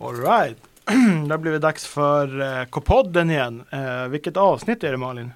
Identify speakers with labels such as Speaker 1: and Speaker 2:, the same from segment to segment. Speaker 1: Alright. Då blir det dags för eh, K-podden igen. Eh, vilket avsnitt är det Malin?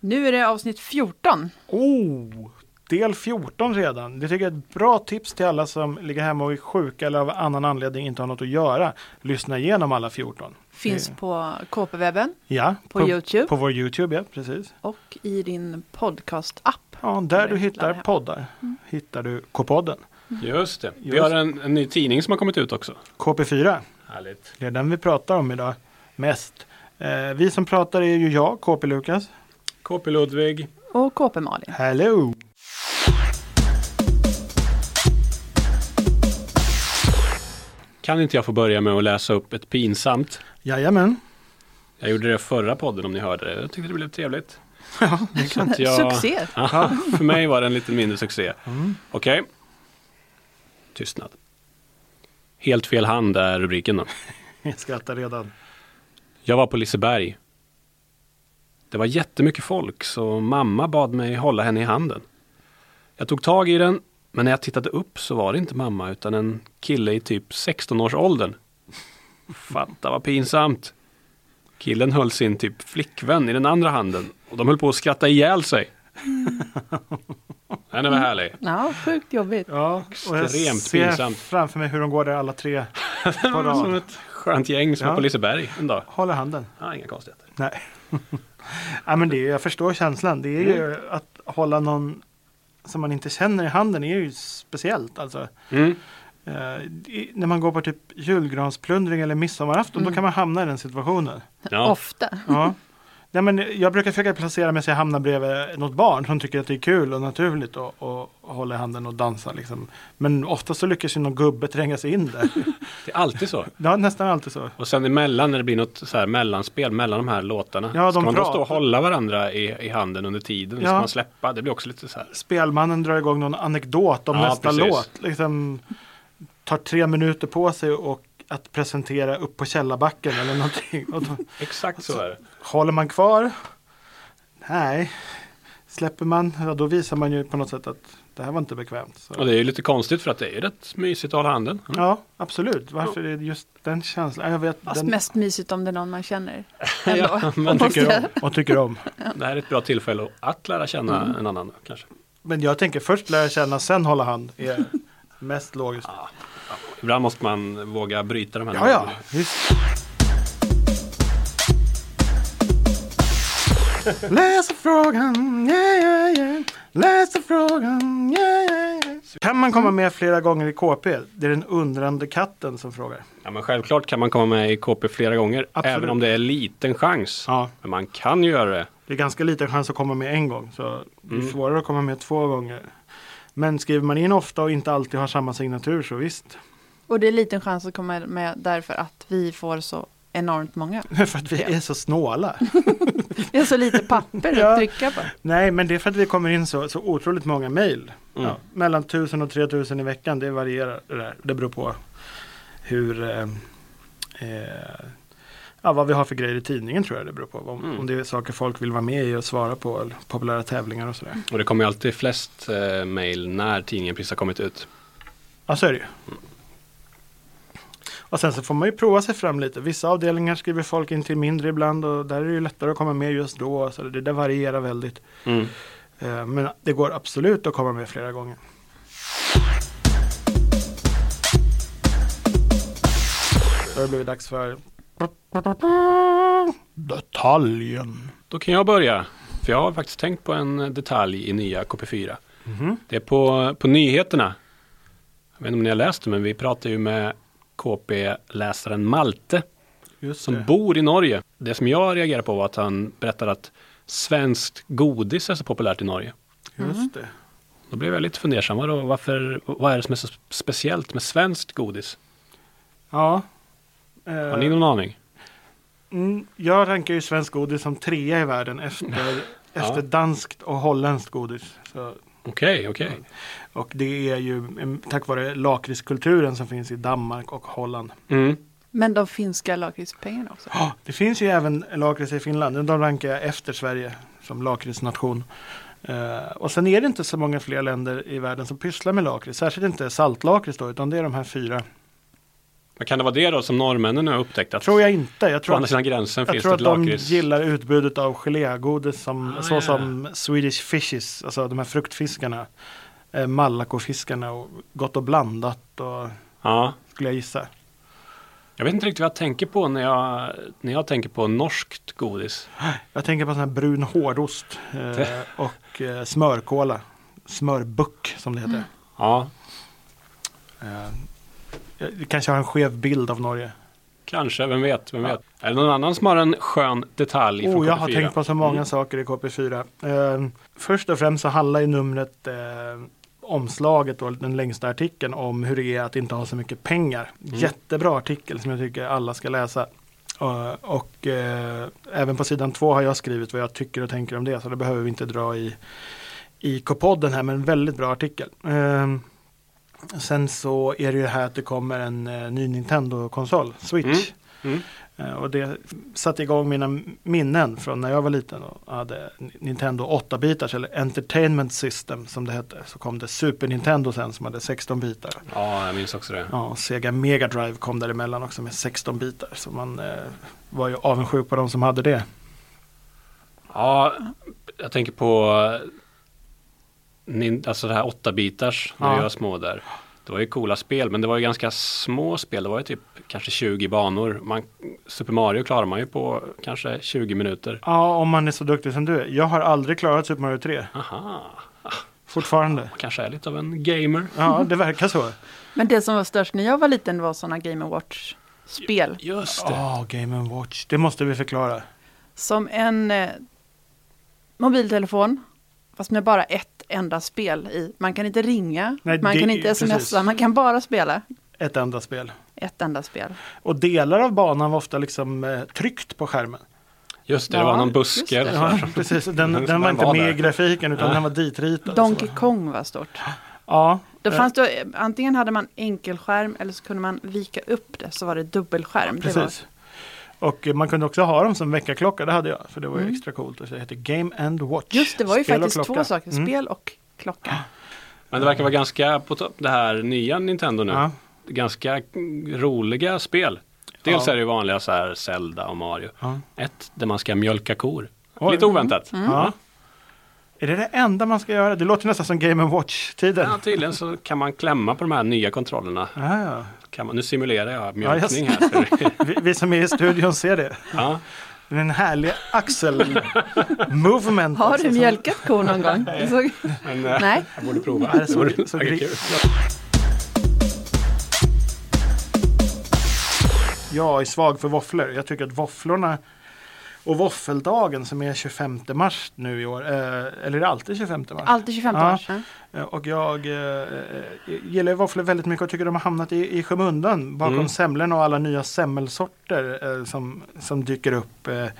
Speaker 2: Nu är det avsnitt 14.
Speaker 1: Oh, del 14 redan. Det tycker jag är ett bra tips till alla som ligger hemma och är sjuka eller av annan anledning inte har något att göra. Lyssna igenom alla 14.
Speaker 2: Finns
Speaker 1: Eh,
Speaker 2: på KP-webben,
Speaker 1: ja,
Speaker 2: på, Youtube
Speaker 1: På vår Youtube, ja precis.
Speaker 2: och i din podcast-app.
Speaker 1: Ja, där
Speaker 2: Eller
Speaker 1: du hittar
Speaker 2: laddar hem.
Speaker 1: poddar
Speaker 2: Mm.
Speaker 1: hittar du K-podden.
Speaker 3: Just det. Vi
Speaker 1: Just.
Speaker 3: har en, en ny tidning som har kommit ut också.
Speaker 1: KP4,
Speaker 3: Härligt.
Speaker 1: det är den vi pratar om idag mest. Eh, vi som pratar är ju jag, KP Lukas.
Speaker 3: KP Ludvig.
Speaker 2: Och KP-Malin.
Speaker 1: Hello!
Speaker 3: Kan inte jag få börja med att läsa upp ett pinsamt?
Speaker 1: Jajamän.
Speaker 3: Jag gjorde det förra podden om ni hörde det. Jag tyckte det blev trevligt. Ja, kan inte
Speaker 2: Succé!
Speaker 3: Aha, för mig var det en lite mindre succé. Okej. Tystnad. Helt fel hand är rubriken då.
Speaker 1: Jag skrattar redan.
Speaker 3: Jag var på Liseberg. Det var jättemycket folk så mamma bad mig hålla henne i handen. Jag tog tag i den men när jag tittade upp så var det inte mamma utan en kille i typ 16-årsåldern. Fatta vad pinsamt. Killen höll sin typ flickvän i den andra handen och de höll på att skratta ihjäl sig. Den är väl härlig.
Speaker 2: Ja, sjukt jobbigt.
Speaker 1: Ja, och jag
Speaker 3: Extremt
Speaker 1: ser
Speaker 3: pinsamt.
Speaker 1: framför mig hur de går där alla tre på
Speaker 3: Som
Speaker 1: rad.
Speaker 3: ett skönt gäng som
Speaker 1: Ja.
Speaker 3: var på Liseberg en dag.
Speaker 1: Håller handen.
Speaker 3: Ja, inga konstigheter.
Speaker 1: Nej. ja, men det är, jag förstår känslan. Det är
Speaker 3: Mm.
Speaker 1: ju att hålla någon som man inte känner i handen är ju speciellt. Alltså,
Speaker 3: Mm.
Speaker 1: eh, i- när man går på typ julgransplundring eller midsommarafton
Speaker 3: Mm.
Speaker 1: då kan man hamna i den situationen.
Speaker 3: Ja.
Speaker 2: Ofta.
Speaker 3: Mm.
Speaker 1: Ja. Nej, men jag brukar försöka placera mig så jag hamnar bredvid något barn som tycker att det är kul och naturligt att att hålla i handen och dansa. Liksom. Men ofta så lyckas ju någon gubbe tränga sig in där.
Speaker 3: Det är alltid så.
Speaker 1: Det är nästan alltid så.
Speaker 3: Och sen emellan när det blir något så här mellanspel mellan de här låtarna.
Speaker 1: Ja, de
Speaker 3: ska man då
Speaker 1: pratar.
Speaker 3: stå och hålla varandra i, i handen under tiden?
Speaker 1: Ja.
Speaker 3: Ska man släppa? Det blir också lite så här.
Speaker 1: spelmannen drar igång någon anekdot om
Speaker 3: Ja,
Speaker 1: nästa
Speaker 3: precis.
Speaker 1: låt. Liksom, tar tre minuter på sig och att presentera upp på källarbacken eller någonting. Och då,
Speaker 3: Exakt så är det.
Speaker 1: håller man kvar? Nej. Släpper man? Ja, då visar man ju på något sätt att det här var inte bekvämt. Så.
Speaker 3: Och det är ju lite konstigt för att det är ju rätt mysigt att hålla handen. Mm.
Speaker 1: Ja, absolut. Varför är det just den känslan? Jag vet,
Speaker 2: Fast
Speaker 1: den,
Speaker 2: mest mysigt om det är någon man känner. Ändå.
Speaker 3: man
Speaker 2: Måste
Speaker 3: tycker
Speaker 2: jag-
Speaker 3: om.
Speaker 1: och tycker om.
Speaker 3: Det här är ett bra tillfälle att lära känna
Speaker 1: Mm.
Speaker 3: en annan kanske.
Speaker 1: Men jag tänker först lära känna, sen hålla hand. Är mest logiskt.
Speaker 3: Ibland måste man våga bryta de här.
Speaker 1: Ja, ja, visst. Läsarfrågan, yeah, yeah, yeah. Läsarfrågan, yeah, yeah, yeah. Kan man komma med flera gånger i KP? Det är den undrande katten som frågar.
Speaker 3: ja, men självklart kan man komma med i KP flera gånger.
Speaker 1: Absolut.
Speaker 3: Även om det är liten chans.
Speaker 1: Ja.
Speaker 3: Men man kan ju göra det.
Speaker 1: Det är ganska liten chans att komma med en gång, så det är svårare att komma med två gånger. Men skriver man in ofta och inte alltid har samma signatur så visst.
Speaker 2: Och det är liten chans att komma med därför att vi får så enormt många.
Speaker 1: För att vi är så snåla.
Speaker 2: Vi har så lite papper
Speaker 1: Ja.
Speaker 2: att trycka på.
Speaker 1: Nej, men det är för att vi kommer in så, så otroligt många mejl.
Speaker 3: Mm.
Speaker 1: Ja, mellan 1000 och 3000 i veckan, det varierar det där. Det beror på hur eh, eh, ja, vad vi har för grejer i tidningen tror jag det beror på. Om,
Speaker 3: Mm.
Speaker 1: om det är saker folk vill vara med i och svara på, eller populära tävlingar och sådär.
Speaker 3: Och det kommer ju alltid flest eh, mejl när tidningen precis har kommit ut.
Speaker 1: Ja, så är det ju.
Speaker 3: Mm.
Speaker 1: Och sen så får man ju prova sig fram lite. Vissa avdelningar skriver folk in till mindre ibland och där är det ju lättare att komma med just då. Så det där varierar väldigt.
Speaker 3: Mm.
Speaker 1: Eh, Men det går absolut att komma med flera gånger. Då har det blivit dags för detaljen.
Speaker 3: Då kan jag börja. För jag har faktiskt tänkt på en detalj i nya KP4.
Speaker 1: Mhm.
Speaker 3: Det är på, på nyheterna. Jag vet inte om ni har läst det, men vi pratar ju med KP-läsaren Malte
Speaker 1: Just
Speaker 3: som
Speaker 1: det.
Speaker 3: bor i Norge. Det som jag reagerade på var att han berättade att svenskt godis är så populärt i Norge. Mhm.
Speaker 1: Just det.
Speaker 3: Då blev jag lite fundersam. Vadå, varför, vad är det som är så speciellt med svenskt godis?
Speaker 1: Ja.
Speaker 3: Har
Speaker 1: Eh,
Speaker 3: ni någon aning?
Speaker 1: mm, jag rankar ju svensk godis som trea i världen efter, efter danskt och holländskt godis. Så,
Speaker 3: Okej, okej.
Speaker 1: och det är ju mm, tack vare lakritskulturen som finns i Danmark och Holland.
Speaker 3: Mm.
Speaker 2: Men de finska lakritspengarna också.
Speaker 1: Ja, det finns ju även lakrits i Finland. De rankar jag efter Sverige som lakritsnation. Eh, och sen är det inte så många fler länder i världen som pysslar med lakrits. Särskilt inte saltlakrits då, utan det är de här fyra
Speaker 3: Men kan det vara det då som norrmännen har upptäckt? Att
Speaker 1: Tror jag inte. Jag
Speaker 3: På
Speaker 1: tror
Speaker 3: andra
Speaker 1: att,
Speaker 3: sidan gränsen
Speaker 1: jag
Speaker 3: finns
Speaker 1: tror
Speaker 3: det ett
Speaker 1: att de
Speaker 3: lakrits.
Speaker 1: gillar utbudet av gelégodis som,
Speaker 3: Ah,
Speaker 1: så
Speaker 3: ja.
Speaker 1: som Swedish fishes, alltså de här fruktfiskarna. Eh, Malakofiskarna och Gott och blandat och,
Speaker 3: Ja,
Speaker 1: skulle jag gissa.
Speaker 3: jag vet inte riktigt vad jag tänker på när jag, när jag tänker på norskt godis.
Speaker 1: Jag tänker på sån här brun hårdost eh, och eh, smörkola. Smörbuck som det heter.
Speaker 3: Ja,
Speaker 1: Eh, jag kanske har en skev bild av Norge.
Speaker 3: kanske, vem vet, vem
Speaker 1: Ja.
Speaker 3: vet. Är det någon annan som har en skön detalj från
Speaker 1: Oh, jag har
Speaker 3: KP4?
Speaker 1: tänkt på så många
Speaker 3: Mm.
Speaker 1: saker i KP4. Eh, först och främst så handlar ju numret eh, omslaget och den längsta artikeln om hur det är att inte ha så mycket pengar.
Speaker 3: Mm.
Speaker 1: Jättebra artikel som jag tycker alla ska läsa. Eh, och eh, även på sidan två har jag skrivit vad jag tycker och tänker om det så det behöver vi inte dra i, i K-podden här men väldigt bra artikel. Eh, sen så är det ju här att det kommer en eh, ny Nintendo-konsol, Switch.
Speaker 3: Mm. Mm.
Speaker 1: Eh, Och det satte igång mina minnen från när jag var liten och hade Nintendo 8-bitars eller Entertainment System som det hette. Så kom det Super Nintendo sen som hade 16 bitar.
Speaker 3: Ja, jag minns också det.
Speaker 1: Ja, och Sega Mega Drive kom däremellan också med 16 bitar. Så man eh, var ju avundsjuk på de som hade det.
Speaker 3: Ja, jag tänker på eh, nin- alltså det här 8-bitars när
Speaker 1: Ja.
Speaker 3: vi var små där. Det var ju coola spel, men det var ju ganska små spel. Det var ju typ kanske 20 banor. Man, Super Mario klarar man ju på kanske 20 minuter.
Speaker 1: Ja, om man är så duktig som du är. Jag har aldrig klarat Super Mario 3,
Speaker 3: Aha,
Speaker 1: fortfarande.
Speaker 3: kanske är lite av en gamer.
Speaker 1: Ja, det verkar så.
Speaker 2: Men det som var störst när jag var liten var sådana Game Watch-spel.
Speaker 3: Just det.
Speaker 1: Ja, Ah, Game Watch, det måste vi förklara.
Speaker 2: Som en eh, mobiltelefon, fast med bara ett enda spel i. Man kan inte ringa,
Speaker 1: Nej,
Speaker 2: man
Speaker 1: det-
Speaker 2: kan inte smsa,
Speaker 1: precis.
Speaker 2: man kan bara spela
Speaker 1: Ett enda spel.
Speaker 2: ett enda spel.
Speaker 1: Och delar av banan var ofta liksom eh, tryckt på skärmen.
Speaker 3: Just det, det var
Speaker 2: Ja,
Speaker 3: någon
Speaker 2: just
Speaker 3: buske.
Speaker 2: det.
Speaker 3: och så här.
Speaker 1: Ja, precis. Den,
Speaker 3: Den
Speaker 1: den var
Speaker 3: som
Speaker 1: inte
Speaker 3: var
Speaker 1: med
Speaker 3: där.
Speaker 1: i grafiken utan den var ditritad.
Speaker 2: Donkey
Speaker 1: Så.
Speaker 2: Kong var stort.
Speaker 1: Ja,
Speaker 2: Då fanns det, eh, antingen hade man enkelskärm eller så kunde man vika upp det så var det dubbelskärm. Det var,
Speaker 1: precis. Och eh, man kunde också ha dem som väckarklocka, det hade jag. För det var ju extra coolt. Och så hette Game and Watch.
Speaker 2: Mm. just det var ju
Speaker 1: Spel och
Speaker 2: faktiskt
Speaker 1: klocka.
Speaker 2: två saker,
Speaker 1: Mm.
Speaker 2: spel och klocka.
Speaker 3: Men det verkar vara ganska, på topp, det här nya Nintendo nu,
Speaker 1: Ja.
Speaker 3: ganska mm, roliga spel. Dels
Speaker 1: Ja.
Speaker 3: är det ju vanliga så här Zelda och Mario.
Speaker 1: Ja.
Speaker 3: Ett där man ska mjölka kor.
Speaker 1: Oj. Mm.
Speaker 3: Lite oväntat.
Speaker 2: Mm.
Speaker 1: Ja. Är det det enda man ska göra? Det låter nästan som Game and Watch-tiden.
Speaker 3: Ja, tydligen så kan man klämma på de här nya kontrollerna.
Speaker 1: Ja, ja.
Speaker 3: Kan man, nu simulerar jag
Speaker 1: Ja, just-
Speaker 3: mjölkning här. För,
Speaker 1: Vi, vi som är i studion ser det.
Speaker 3: ja.
Speaker 1: Det är en härlig axel-movement.
Speaker 2: Har
Speaker 1: alltså,
Speaker 2: du
Speaker 1: som-
Speaker 2: mjölkat kor någon gång? Så,
Speaker 3: Men eh,
Speaker 2: nej.
Speaker 3: jag borde prova.
Speaker 1: Ja, det såg-
Speaker 3: Det
Speaker 1: såg
Speaker 3: vore
Speaker 1: ri-
Speaker 3: kul.
Speaker 1: Jag är svag för våfflor. Jag tycker att våfflorna och våffeldagen som är 25 mars nu i år, eh, eller är det alltid 25 mars?
Speaker 2: Alltid 25
Speaker 1: Ja.
Speaker 2: år. Mm.
Speaker 1: Eh, Och jag eh, eh, gillar ju våfflor väldigt mycket och tycker de har hamnat i, i skymundan bakom
Speaker 3: Mm.
Speaker 1: semlorna och alla nya semmelsorter eh, som, som dyker upp. Eh, eh,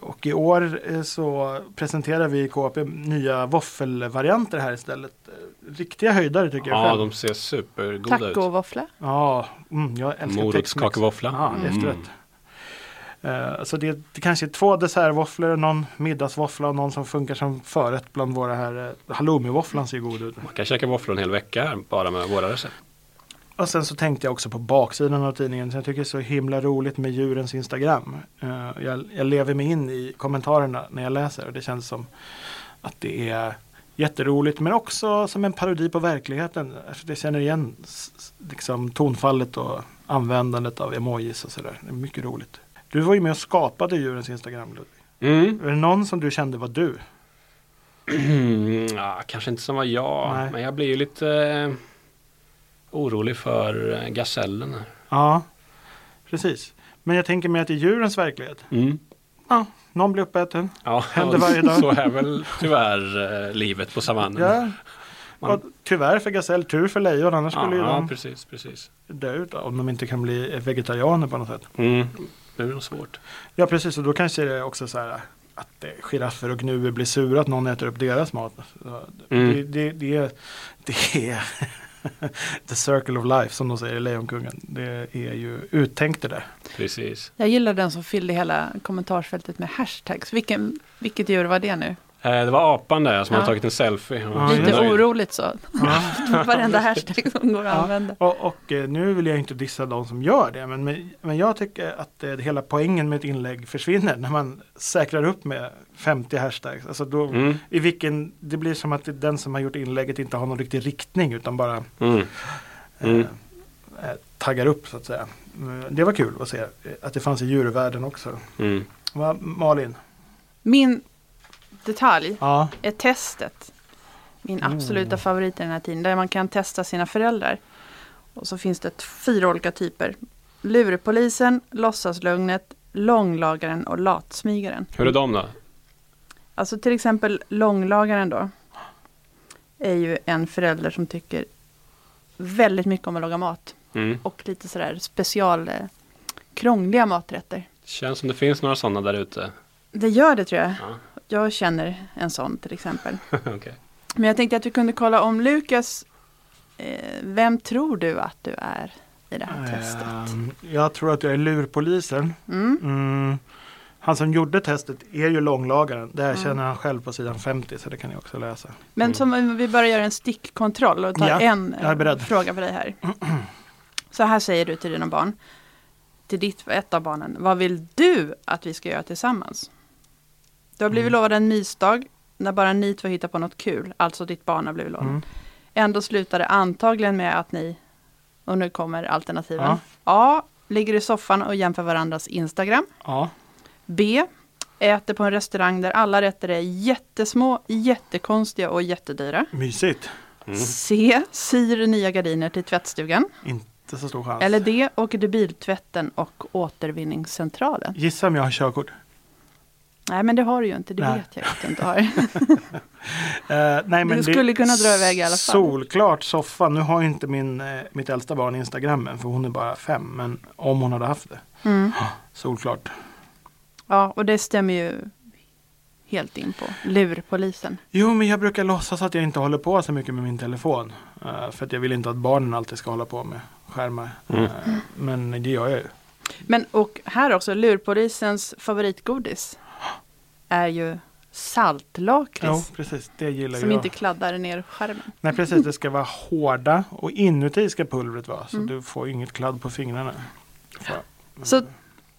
Speaker 1: och i år eh, så presenterar vi i KP nya våffelvarianter här istället. Eh, Riktiga höjdare tycker jag
Speaker 3: Ja,
Speaker 1: själv.
Speaker 3: de ser supergoda ut.
Speaker 2: Tacovåffla.
Speaker 1: Ja, mm, jag älskar Tex-Mex.
Speaker 3: Morotskakevåffla.
Speaker 1: Ja,
Speaker 3: Mm.
Speaker 1: efterrätt. Eh, Så det, det kanske är två dessertvåfflor, någon middagsvåffla och någon som funkar som förrätt bland våra här. eh, Halloumivåfflan ser ju god ut.
Speaker 3: Man kan käka våfflor en hel vecka här, bara med våra recept.
Speaker 1: Och sen så tänkte jag också på baksidan av tidningen. Så jag tycker det är så himla roligt med djurens Instagram. Eh, Jag, jag lever mig in i kommentarerna när jag läser och det känns som att det är jätteroligt men också som en parodi på verkligheten. Alltså, Jag känner igen s- s- liksom, tonfallet och användandet av emojis och sådär. Det är mycket roligt. Du var ju med och skapade djurens Instagram Ludvig.
Speaker 3: Mm.
Speaker 1: Är det någon som du kände var du?
Speaker 3: Mm, ja, kanske inte som var jag,
Speaker 1: Nej.
Speaker 3: men jag blir ju lite eh, orolig för eh, gasellen. här.
Speaker 1: Ja, precis. Men jag tänker mig att i djurens verklighet, ja, någon blir uppäten.
Speaker 3: Ja,
Speaker 1: Mm. Händer varje dag.
Speaker 3: Så är väl tyvärr eh, livet på savannen.
Speaker 1: Ja.
Speaker 3: Man-
Speaker 1: Och tyvärr för gasell, tur för lejon, annars skulle ju
Speaker 3: Ja,
Speaker 1: de
Speaker 3: precis, precis.
Speaker 1: dö ut om de inte kan bli vegetarianer på något sätt.
Speaker 3: Mm. Det är nog svårt.
Speaker 1: Ja precis, och då kanske det är också så här att eh, giraffer och gnuer blir sura att någon äter upp deras mat. Så eh,
Speaker 3: Mm.
Speaker 1: Det, det, det är, det är the circle of life som de säger i Lejonkungen. Det är ju uttänkt det där.
Speaker 3: Precis.
Speaker 2: Jag gillar den som fyllde hela kommentarsfältet med hashtags. Vilken, vilket djur var det nu?
Speaker 3: Eh, Det var apan där som
Speaker 2: Ja.
Speaker 3: hade tagit en selfie. Han var
Speaker 1: Ja,
Speaker 3: så
Speaker 1: just
Speaker 2: Lite
Speaker 1: det.
Speaker 3: nöjd.
Speaker 2: oroligt så.
Speaker 1: Ja.
Speaker 2: Varenda hashtag som går
Speaker 1: Ja.
Speaker 2: att använda.
Speaker 1: Och, och eh, nu vill jag inte dissa de som gör det, men, men- men jag tycker att eh, hela poängen med ett inlägg försvinner när man säkrar upp med 50 hashtags. Alltså då,
Speaker 3: Mm,
Speaker 1: i vilken, det blir som att den som har gjort inlägget inte har någon riktig riktning utan bara
Speaker 3: mm.
Speaker 1: eh,
Speaker 3: Mm.
Speaker 1: eh, taggar upp så att säga. Mm, Det var kul att se eh, att det fanns i djurvärlden också.
Speaker 3: Mm.
Speaker 1: Va, Malin?
Speaker 2: Min detalj
Speaker 1: Ja.
Speaker 2: är testet. Min
Speaker 1: Mm.
Speaker 2: absoluta favorit i den här tiden. Där man kan testa sina föräldrar. Och så finns det ett- fyra olika typer. Lurpolisen, låtsaslugnet, långlagaren och latsmygaren.
Speaker 3: Hur är de då?
Speaker 2: Alltså till exempel långlagaren då. Är ju en förälder som tycker väldigt mycket om att laga mat.
Speaker 3: Mm.
Speaker 2: Och lite sådär special eh, krångliga maträtter.
Speaker 3: Känns som det finns några sådana där ute.
Speaker 2: Det gör det tror jag.
Speaker 3: Ja.
Speaker 2: Jag känner en sån till exempel.
Speaker 3: Okej.
Speaker 2: Men jag tänkte att vi kunde kolla om Lukas, eh, vem tror du att du är i det här testet?
Speaker 1: Ehm, Jag tror att jag är lurpolisen.
Speaker 2: Mm.
Speaker 1: Mm. Han som gjorde testet är ju långlagaren. Det erkänner han själv på sidan 50 så det kan ni också läsa.
Speaker 2: Men som om vi börjar göra en stickkontroll och tar
Speaker 1: Mm. Ja,
Speaker 2: en
Speaker 1: jag är beredd.
Speaker 2: fråga för dig här. Så här säger du till dina barn, till ditt, ett av barnen, vad vill du att vi ska göra tillsammans? Du har blivit
Speaker 1: Mm.
Speaker 2: lovad en mysdag när bara ni två hittar på något kul, alltså ditt barn har blivit lovad.
Speaker 1: Mm.
Speaker 2: Ändå slutar det antagligen med att ni, och nu kommer alternativen.
Speaker 1: Ja.
Speaker 2: A. Ligger i soffan och jämför varandras Instagram.
Speaker 1: Ja.
Speaker 2: B. Äter på en restaurang där alla rätter är jättesmå, jättekonstiga och jättedyra.
Speaker 1: Mysigt.
Speaker 3: Mm.
Speaker 2: C. Syr nya gardiner till tvättstugan.
Speaker 1: Inte så stor chans.
Speaker 2: Eller D. Åker till biltvätten och återvinningscentralen.
Speaker 1: Gissa om jag har körkort. Eh,
Speaker 2: Nej men det har du ju inte, det
Speaker 1: Nej.
Speaker 2: vet jag att du inte har.
Speaker 1: Eh, nej, men
Speaker 2: Du
Speaker 1: det-
Speaker 2: skulle kunna dra iväg i alla fall.
Speaker 1: Solklart soffa. Nu har ju inte min, eh, mitt äldsta barn Instagram än för hon är bara fem. Men om hon hade haft det.
Speaker 2: Mm.
Speaker 1: Solklart.
Speaker 2: Ja, och det stämmer ju helt in på lurpolisen.
Speaker 1: Jo men jag brukar låtsas att jag inte håller på så mycket med min telefon. eh, för att jag vill inte att barnen alltid ska hålla på med skärmar.
Speaker 3: Mm.
Speaker 1: Eh, men det gör jag ju.
Speaker 2: Men och här också, lurpolisens favoritgodis är ju
Speaker 1: Jo
Speaker 2: saltlakrits.
Speaker 1: precis, det gillar
Speaker 2: Som
Speaker 1: jag.
Speaker 2: inte kladdar ner skärmen.
Speaker 1: Nej precis, det ska vara hårda och inuti ska pulvret vara
Speaker 2: Mm.
Speaker 1: så du får ju inget kladd på fingrarna. Får-
Speaker 2: Så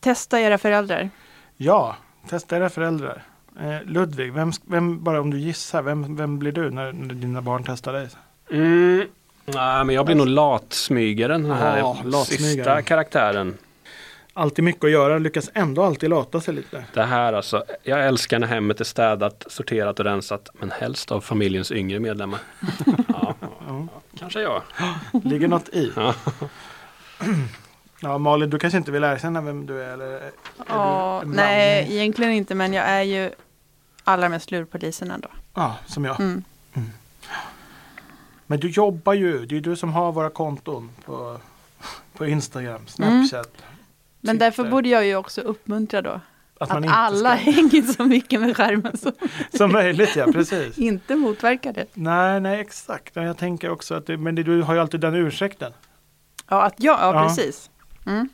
Speaker 2: testa era föräldrar.
Speaker 1: Ja, testa era föräldrar. Eh, Ludvig, vem, sk- vem, bara om du gissar, vem, vem blir du när, när dina barn testar dig?
Speaker 3: Mm. Nej, men jag blir nog latsmygaren, den här
Speaker 1: Ja,
Speaker 3: sista
Speaker 1: latsmygaren.
Speaker 3: karaktären.
Speaker 1: Alltid mycket att göra, lyckas ändå alltid lata sig lite.
Speaker 3: Det här alltså, jag älskar när hemmet är städat, sorterat och rensat, men helst av familjens yngre medlemmar. ja,
Speaker 1: Ja.
Speaker 3: kanske jag.
Speaker 1: Ligger något i?
Speaker 3: Ja.
Speaker 1: Ja, Malin, du kanske inte vill erkänna vem du är? Eller är
Speaker 2: Ja,
Speaker 1: du en
Speaker 2: nej,
Speaker 1: blandning?
Speaker 2: egentligen inte, men jag är ju allra mest lurpolisen ändå.
Speaker 1: Ja, som jag.
Speaker 2: Mm.
Speaker 1: Men du jobbar ju, det är ju du som har våra konton på, på Instagram, Snapchat.
Speaker 2: Mm. Men därför
Speaker 1: Twitter.
Speaker 2: borde jag ju också uppmuntra då
Speaker 1: Att, man
Speaker 2: att
Speaker 1: inte
Speaker 2: alla
Speaker 1: ska,
Speaker 2: hänger så mycket med skärmen som
Speaker 1: som möjligt, ja precis.
Speaker 2: inte motverkar det.
Speaker 1: Nej, nej exakt. Men Jag tänker också att det, men det, du har ju alltid den ursäkten.
Speaker 2: Ja, att jag, ja,
Speaker 1: Ja.
Speaker 2: precis. Mm.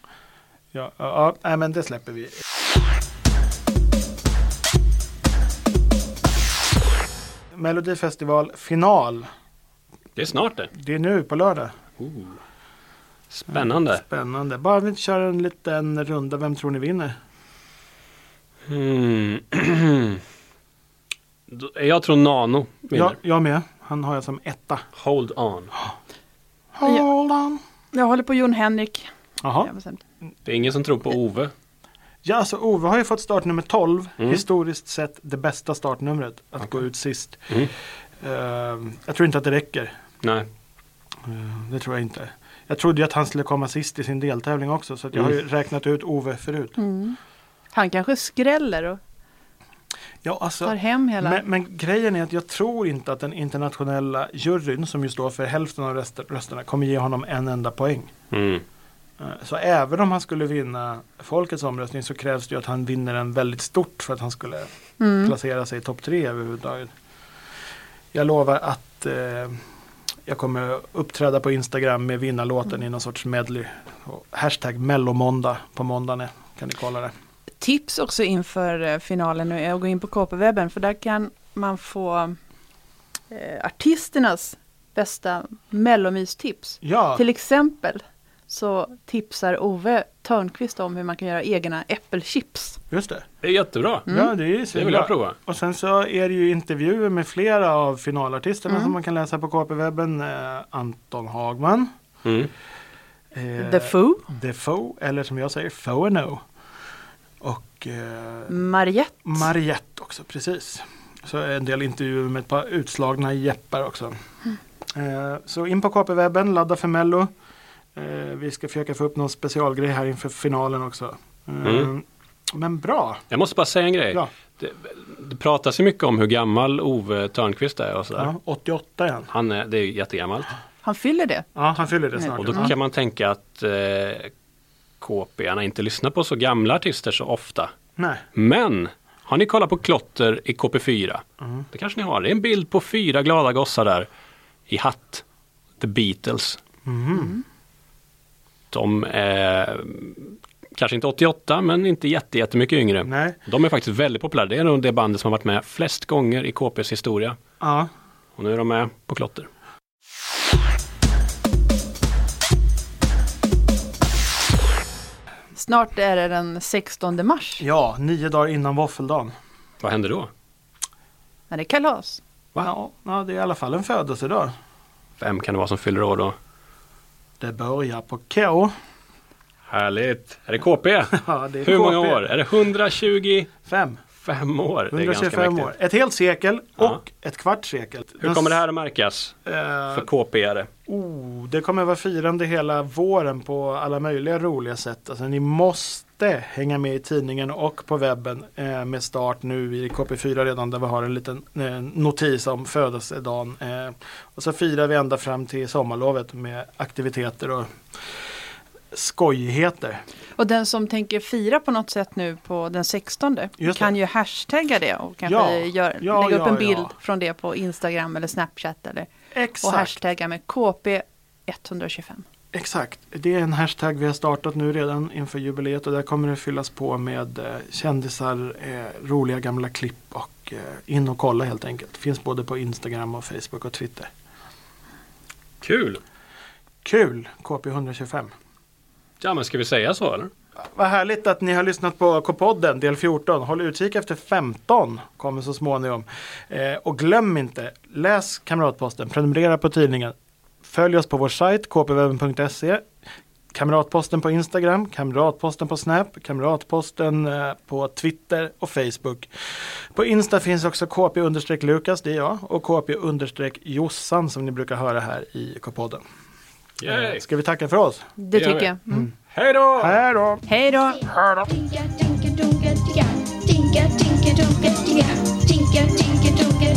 Speaker 1: Ja, ja, ja nej, men det släpper vi. Melodifestival final.
Speaker 3: Det är snart det.
Speaker 1: Det är nu på lördag.
Speaker 3: Ooh. Spännande.
Speaker 1: Spännande. Bara vi kör en liten runda. Vem tror ni vinner?
Speaker 3: Mm. Då- jag tror Nano vinner.
Speaker 1: Jag, jag med. Han har jag som etta.
Speaker 3: Hold on.
Speaker 1: Hold on.
Speaker 2: Jag håller på Jon Henrik.
Speaker 1: Jaha.
Speaker 2: Jag bestämt.
Speaker 3: Det är ingen som tror på Ove.
Speaker 1: Ja, så Ove har ju fått startnummer 12.
Speaker 3: Mm.
Speaker 1: Historiskt sett det bästa startnumret. Att gå ut sist.
Speaker 3: Mm.
Speaker 1: Eh, jag tror inte att det räcker.
Speaker 3: Nej.
Speaker 1: Eh, Det tror jag inte. Jag trodde ju att han skulle komma sist i sin deltävling också så att jag har ju räknat ut Ove förut.
Speaker 2: Mm. Han kanske skräller och
Speaker 1: Ja,
Speaker 2: tar
Speaker 1: alltså,
Speaker 2: hem hela...
Speaker 1: men, men grejen är att jag tror inte att den internationella juryn som ju står för hälften av röster- rösterna kommer ge honom en enda poäng.
Speaker 3: Mm.
Speaker 1: Eh, Så även om han skulle vinna folkets omröstning så krävs det ju att han vinner den väldigt stort för att han skulle
Speaker 2: Mm.
Speaker 1: placera sig i topp tre överhuvudtaget. Jag lovar att eh, jag kommer uppträda på Instagram med vinnarlåten
Speaker 2: Mm.
Speaker 1: i någon sorts medley. Och hashtag mellomåndag på måndagen är- kan ni kolla det.
Speaker 2: Tips också inför eh, finalen nu är att gå in på KP-webben för där kan man få eh, artisternas bästa mellomystips.
Speaker 1: Ja,
Speaker 2: Till exempel så tipsar Ove Törnqvist om hur man kan göra egna äppelchips.
Speaker 1: just det.
Speaker 3: Det är jättebra.
Speaker 2: Mm.
Speaker 1: Ja, det är ju
Speaker 3: Det vill jag
Speaker 1: svinbra.
Speaker 3: prova.
Speaker 1: Och sen så är det ju intervjuer med flera av finalartisterna
Speaker 2: Mm.
Speaker 1: som man kan läsa på KP-webben. Eh, Anton Hagman.
Speaker 3: Mm.
Speaker 1: Eh,
Speaker 2: The Foo,
Speaker 1: The Foe, eller som jag säger, Foe and O. Och eh,
Speaker 2: Mariette,
Speaker 1: Mariette också, precis. Så en del intervjuer med ett par utslagna jeppar också. Eh, så in på KP-webben, ladda för Mello. Eh, vi ska försöka få upp någon specialgrej här inför finalen också. Eh,
Speaker 3: Mm.
Speaker 1: Men bra!
Speaker 3: Jag måste bara säga en grej.
Speaker 1: Ja.
Speaker 3: Det, det pratas ju mycket om hur gammal Ove Törnqvist är och sådär.
Speaker 1: Ja, 88 igen.
Speaker 3: Han är, det är ju jättegammalt.
Speaker 2: han fyller det.
Speaker 1: Ja, han fyller det snart.
Speaker 3: Och då
Speaker 1: Ja.
Speaker 3: kan man tänka att eh, KP-arna inte lyssnar på så gamla artister så ofta.
Speaker 1: Nej.
Speaker 3: Men har ni kollat på klotter i KP4?
Speaker 1: Mm.
Speaker 3: Det kanske ni har. Det är en bild på fyra glada gossar där i hatt. The Beatles.
Speaker 1: Mhm.
Speaker 3: De är kanske inte 88 men inte jätte, jättemycket yngre.
Speaker 1: Nej.
Speaker 3: De är faktiskt väldigt populära. Det är nog det bandet som har varit med flest gånger i KPs historia.
Speaker 1: Ja.
Speaker 3: Och nu är de med på klotter.
Speaker 2: Snart är det den 16 mars
Speaker 1: ja, nio dagar innan våffeldagen.
Speaker 3: Vad händer då?
Speaker 2: när det är kalas.
Speaker 3: Va?
Speaker 1: Ja, ja, det är i alla fall en födelsedag.
Speaker 3: Vem kan det vara som fyller år då?
Speaker 1: Det börjar på K.
Speaker 3: Härligt! Är det KP?
Speaker 1: Ja, det är
Speaker 3: Hur många
Speaker 1: KP.
Speaker 3: år? Är det 125
Speaker 1: Fem.
Speaker 3: år? Det är ganska
Speaker 1: 125
Speaker 3: mäktigt.
Speaker 1: år. Ett helt sekel
Speaker 3: Ja.
Speaker 1: och ett kvarts sekel.
Speaker 3: Hur kommer det här att märkas för
Speaker 1: Eh,
Speaker 3: KP-are?
Speaker 1: oh, det kommer vara firande hela våren på alla möjliga roliga sätt. Alltså, ni måste hänga med i tidningen och på webben eh, med start nu i KP4 redan där vi har en liten eh, notis om födelsedagen. Eh, och så firar vi ända fram till sommarlovet med aktiviteter och skojigheter.
Speaker 2: Och den som tänker fira på något sätt nu på den 16
Speaker 1: Just
Speaker 2: kan
Speaker 1: det.
Speaker 2: ju hashtagga det och kanske
Speaker 1: Ja,
Speaker 2: gör,
Speaker 1: ja,
Speaker 2: lägga upp
Speaker 1: ja,
Speaker 2: en bild
Speaker 1: ja.
Speaker 2: från det på Instagram eller Snapchat eller, och
Speaker 1: Exakt.
Speaker 2: hashtagga med KP125.
Speaker 1: Exakt, det är en hashtag vi har startat nu redan inför jubileet och där kommer det fyllas på med eh, kändisar, eh, roliga gamla klipp och eh, in och kolla helt enkelt. Finns både på Instagram och Facebook och Twitter.
Speaker 3: Kul!
Speaker 1: Kul! KP125.
Speaker 3: Ja men ska vi säga så eller?
Speaker 1: Vad härligt att ni har lyssnat på K-podden del 14. Håll utkik efter 15, kommer så småningom. Eh, och glöm inte, läs Kamratposten, prenumerera på tidningen. Följ oss på vår sajt kpwebben.se. Kamratposten på Instagram, Kamratposten på Snap, Kamratposten eh, på Twitter och Facebook. På Insta finns också KP-Lukas, det är jag, och KP-Jossan som ni brukar höra här i K-podden. Eh,
Speaker 3: Yay!
Speaker 1: Ska vi tacka för oss?
Speaker 2: Det
Speaker 3: Det gör
Speaker 2: tycker
Speaker 3: vi.
Speaker 2: jag. Mm.
Speaker 3: Hej då!
Speaker 1: Hej då!
Speaker 2: Hej då!
Speaker 4: Tinka, tinka, dunka, tinka. Tinka, tinka, dunka, tinka. Tinka, tinka, dunka,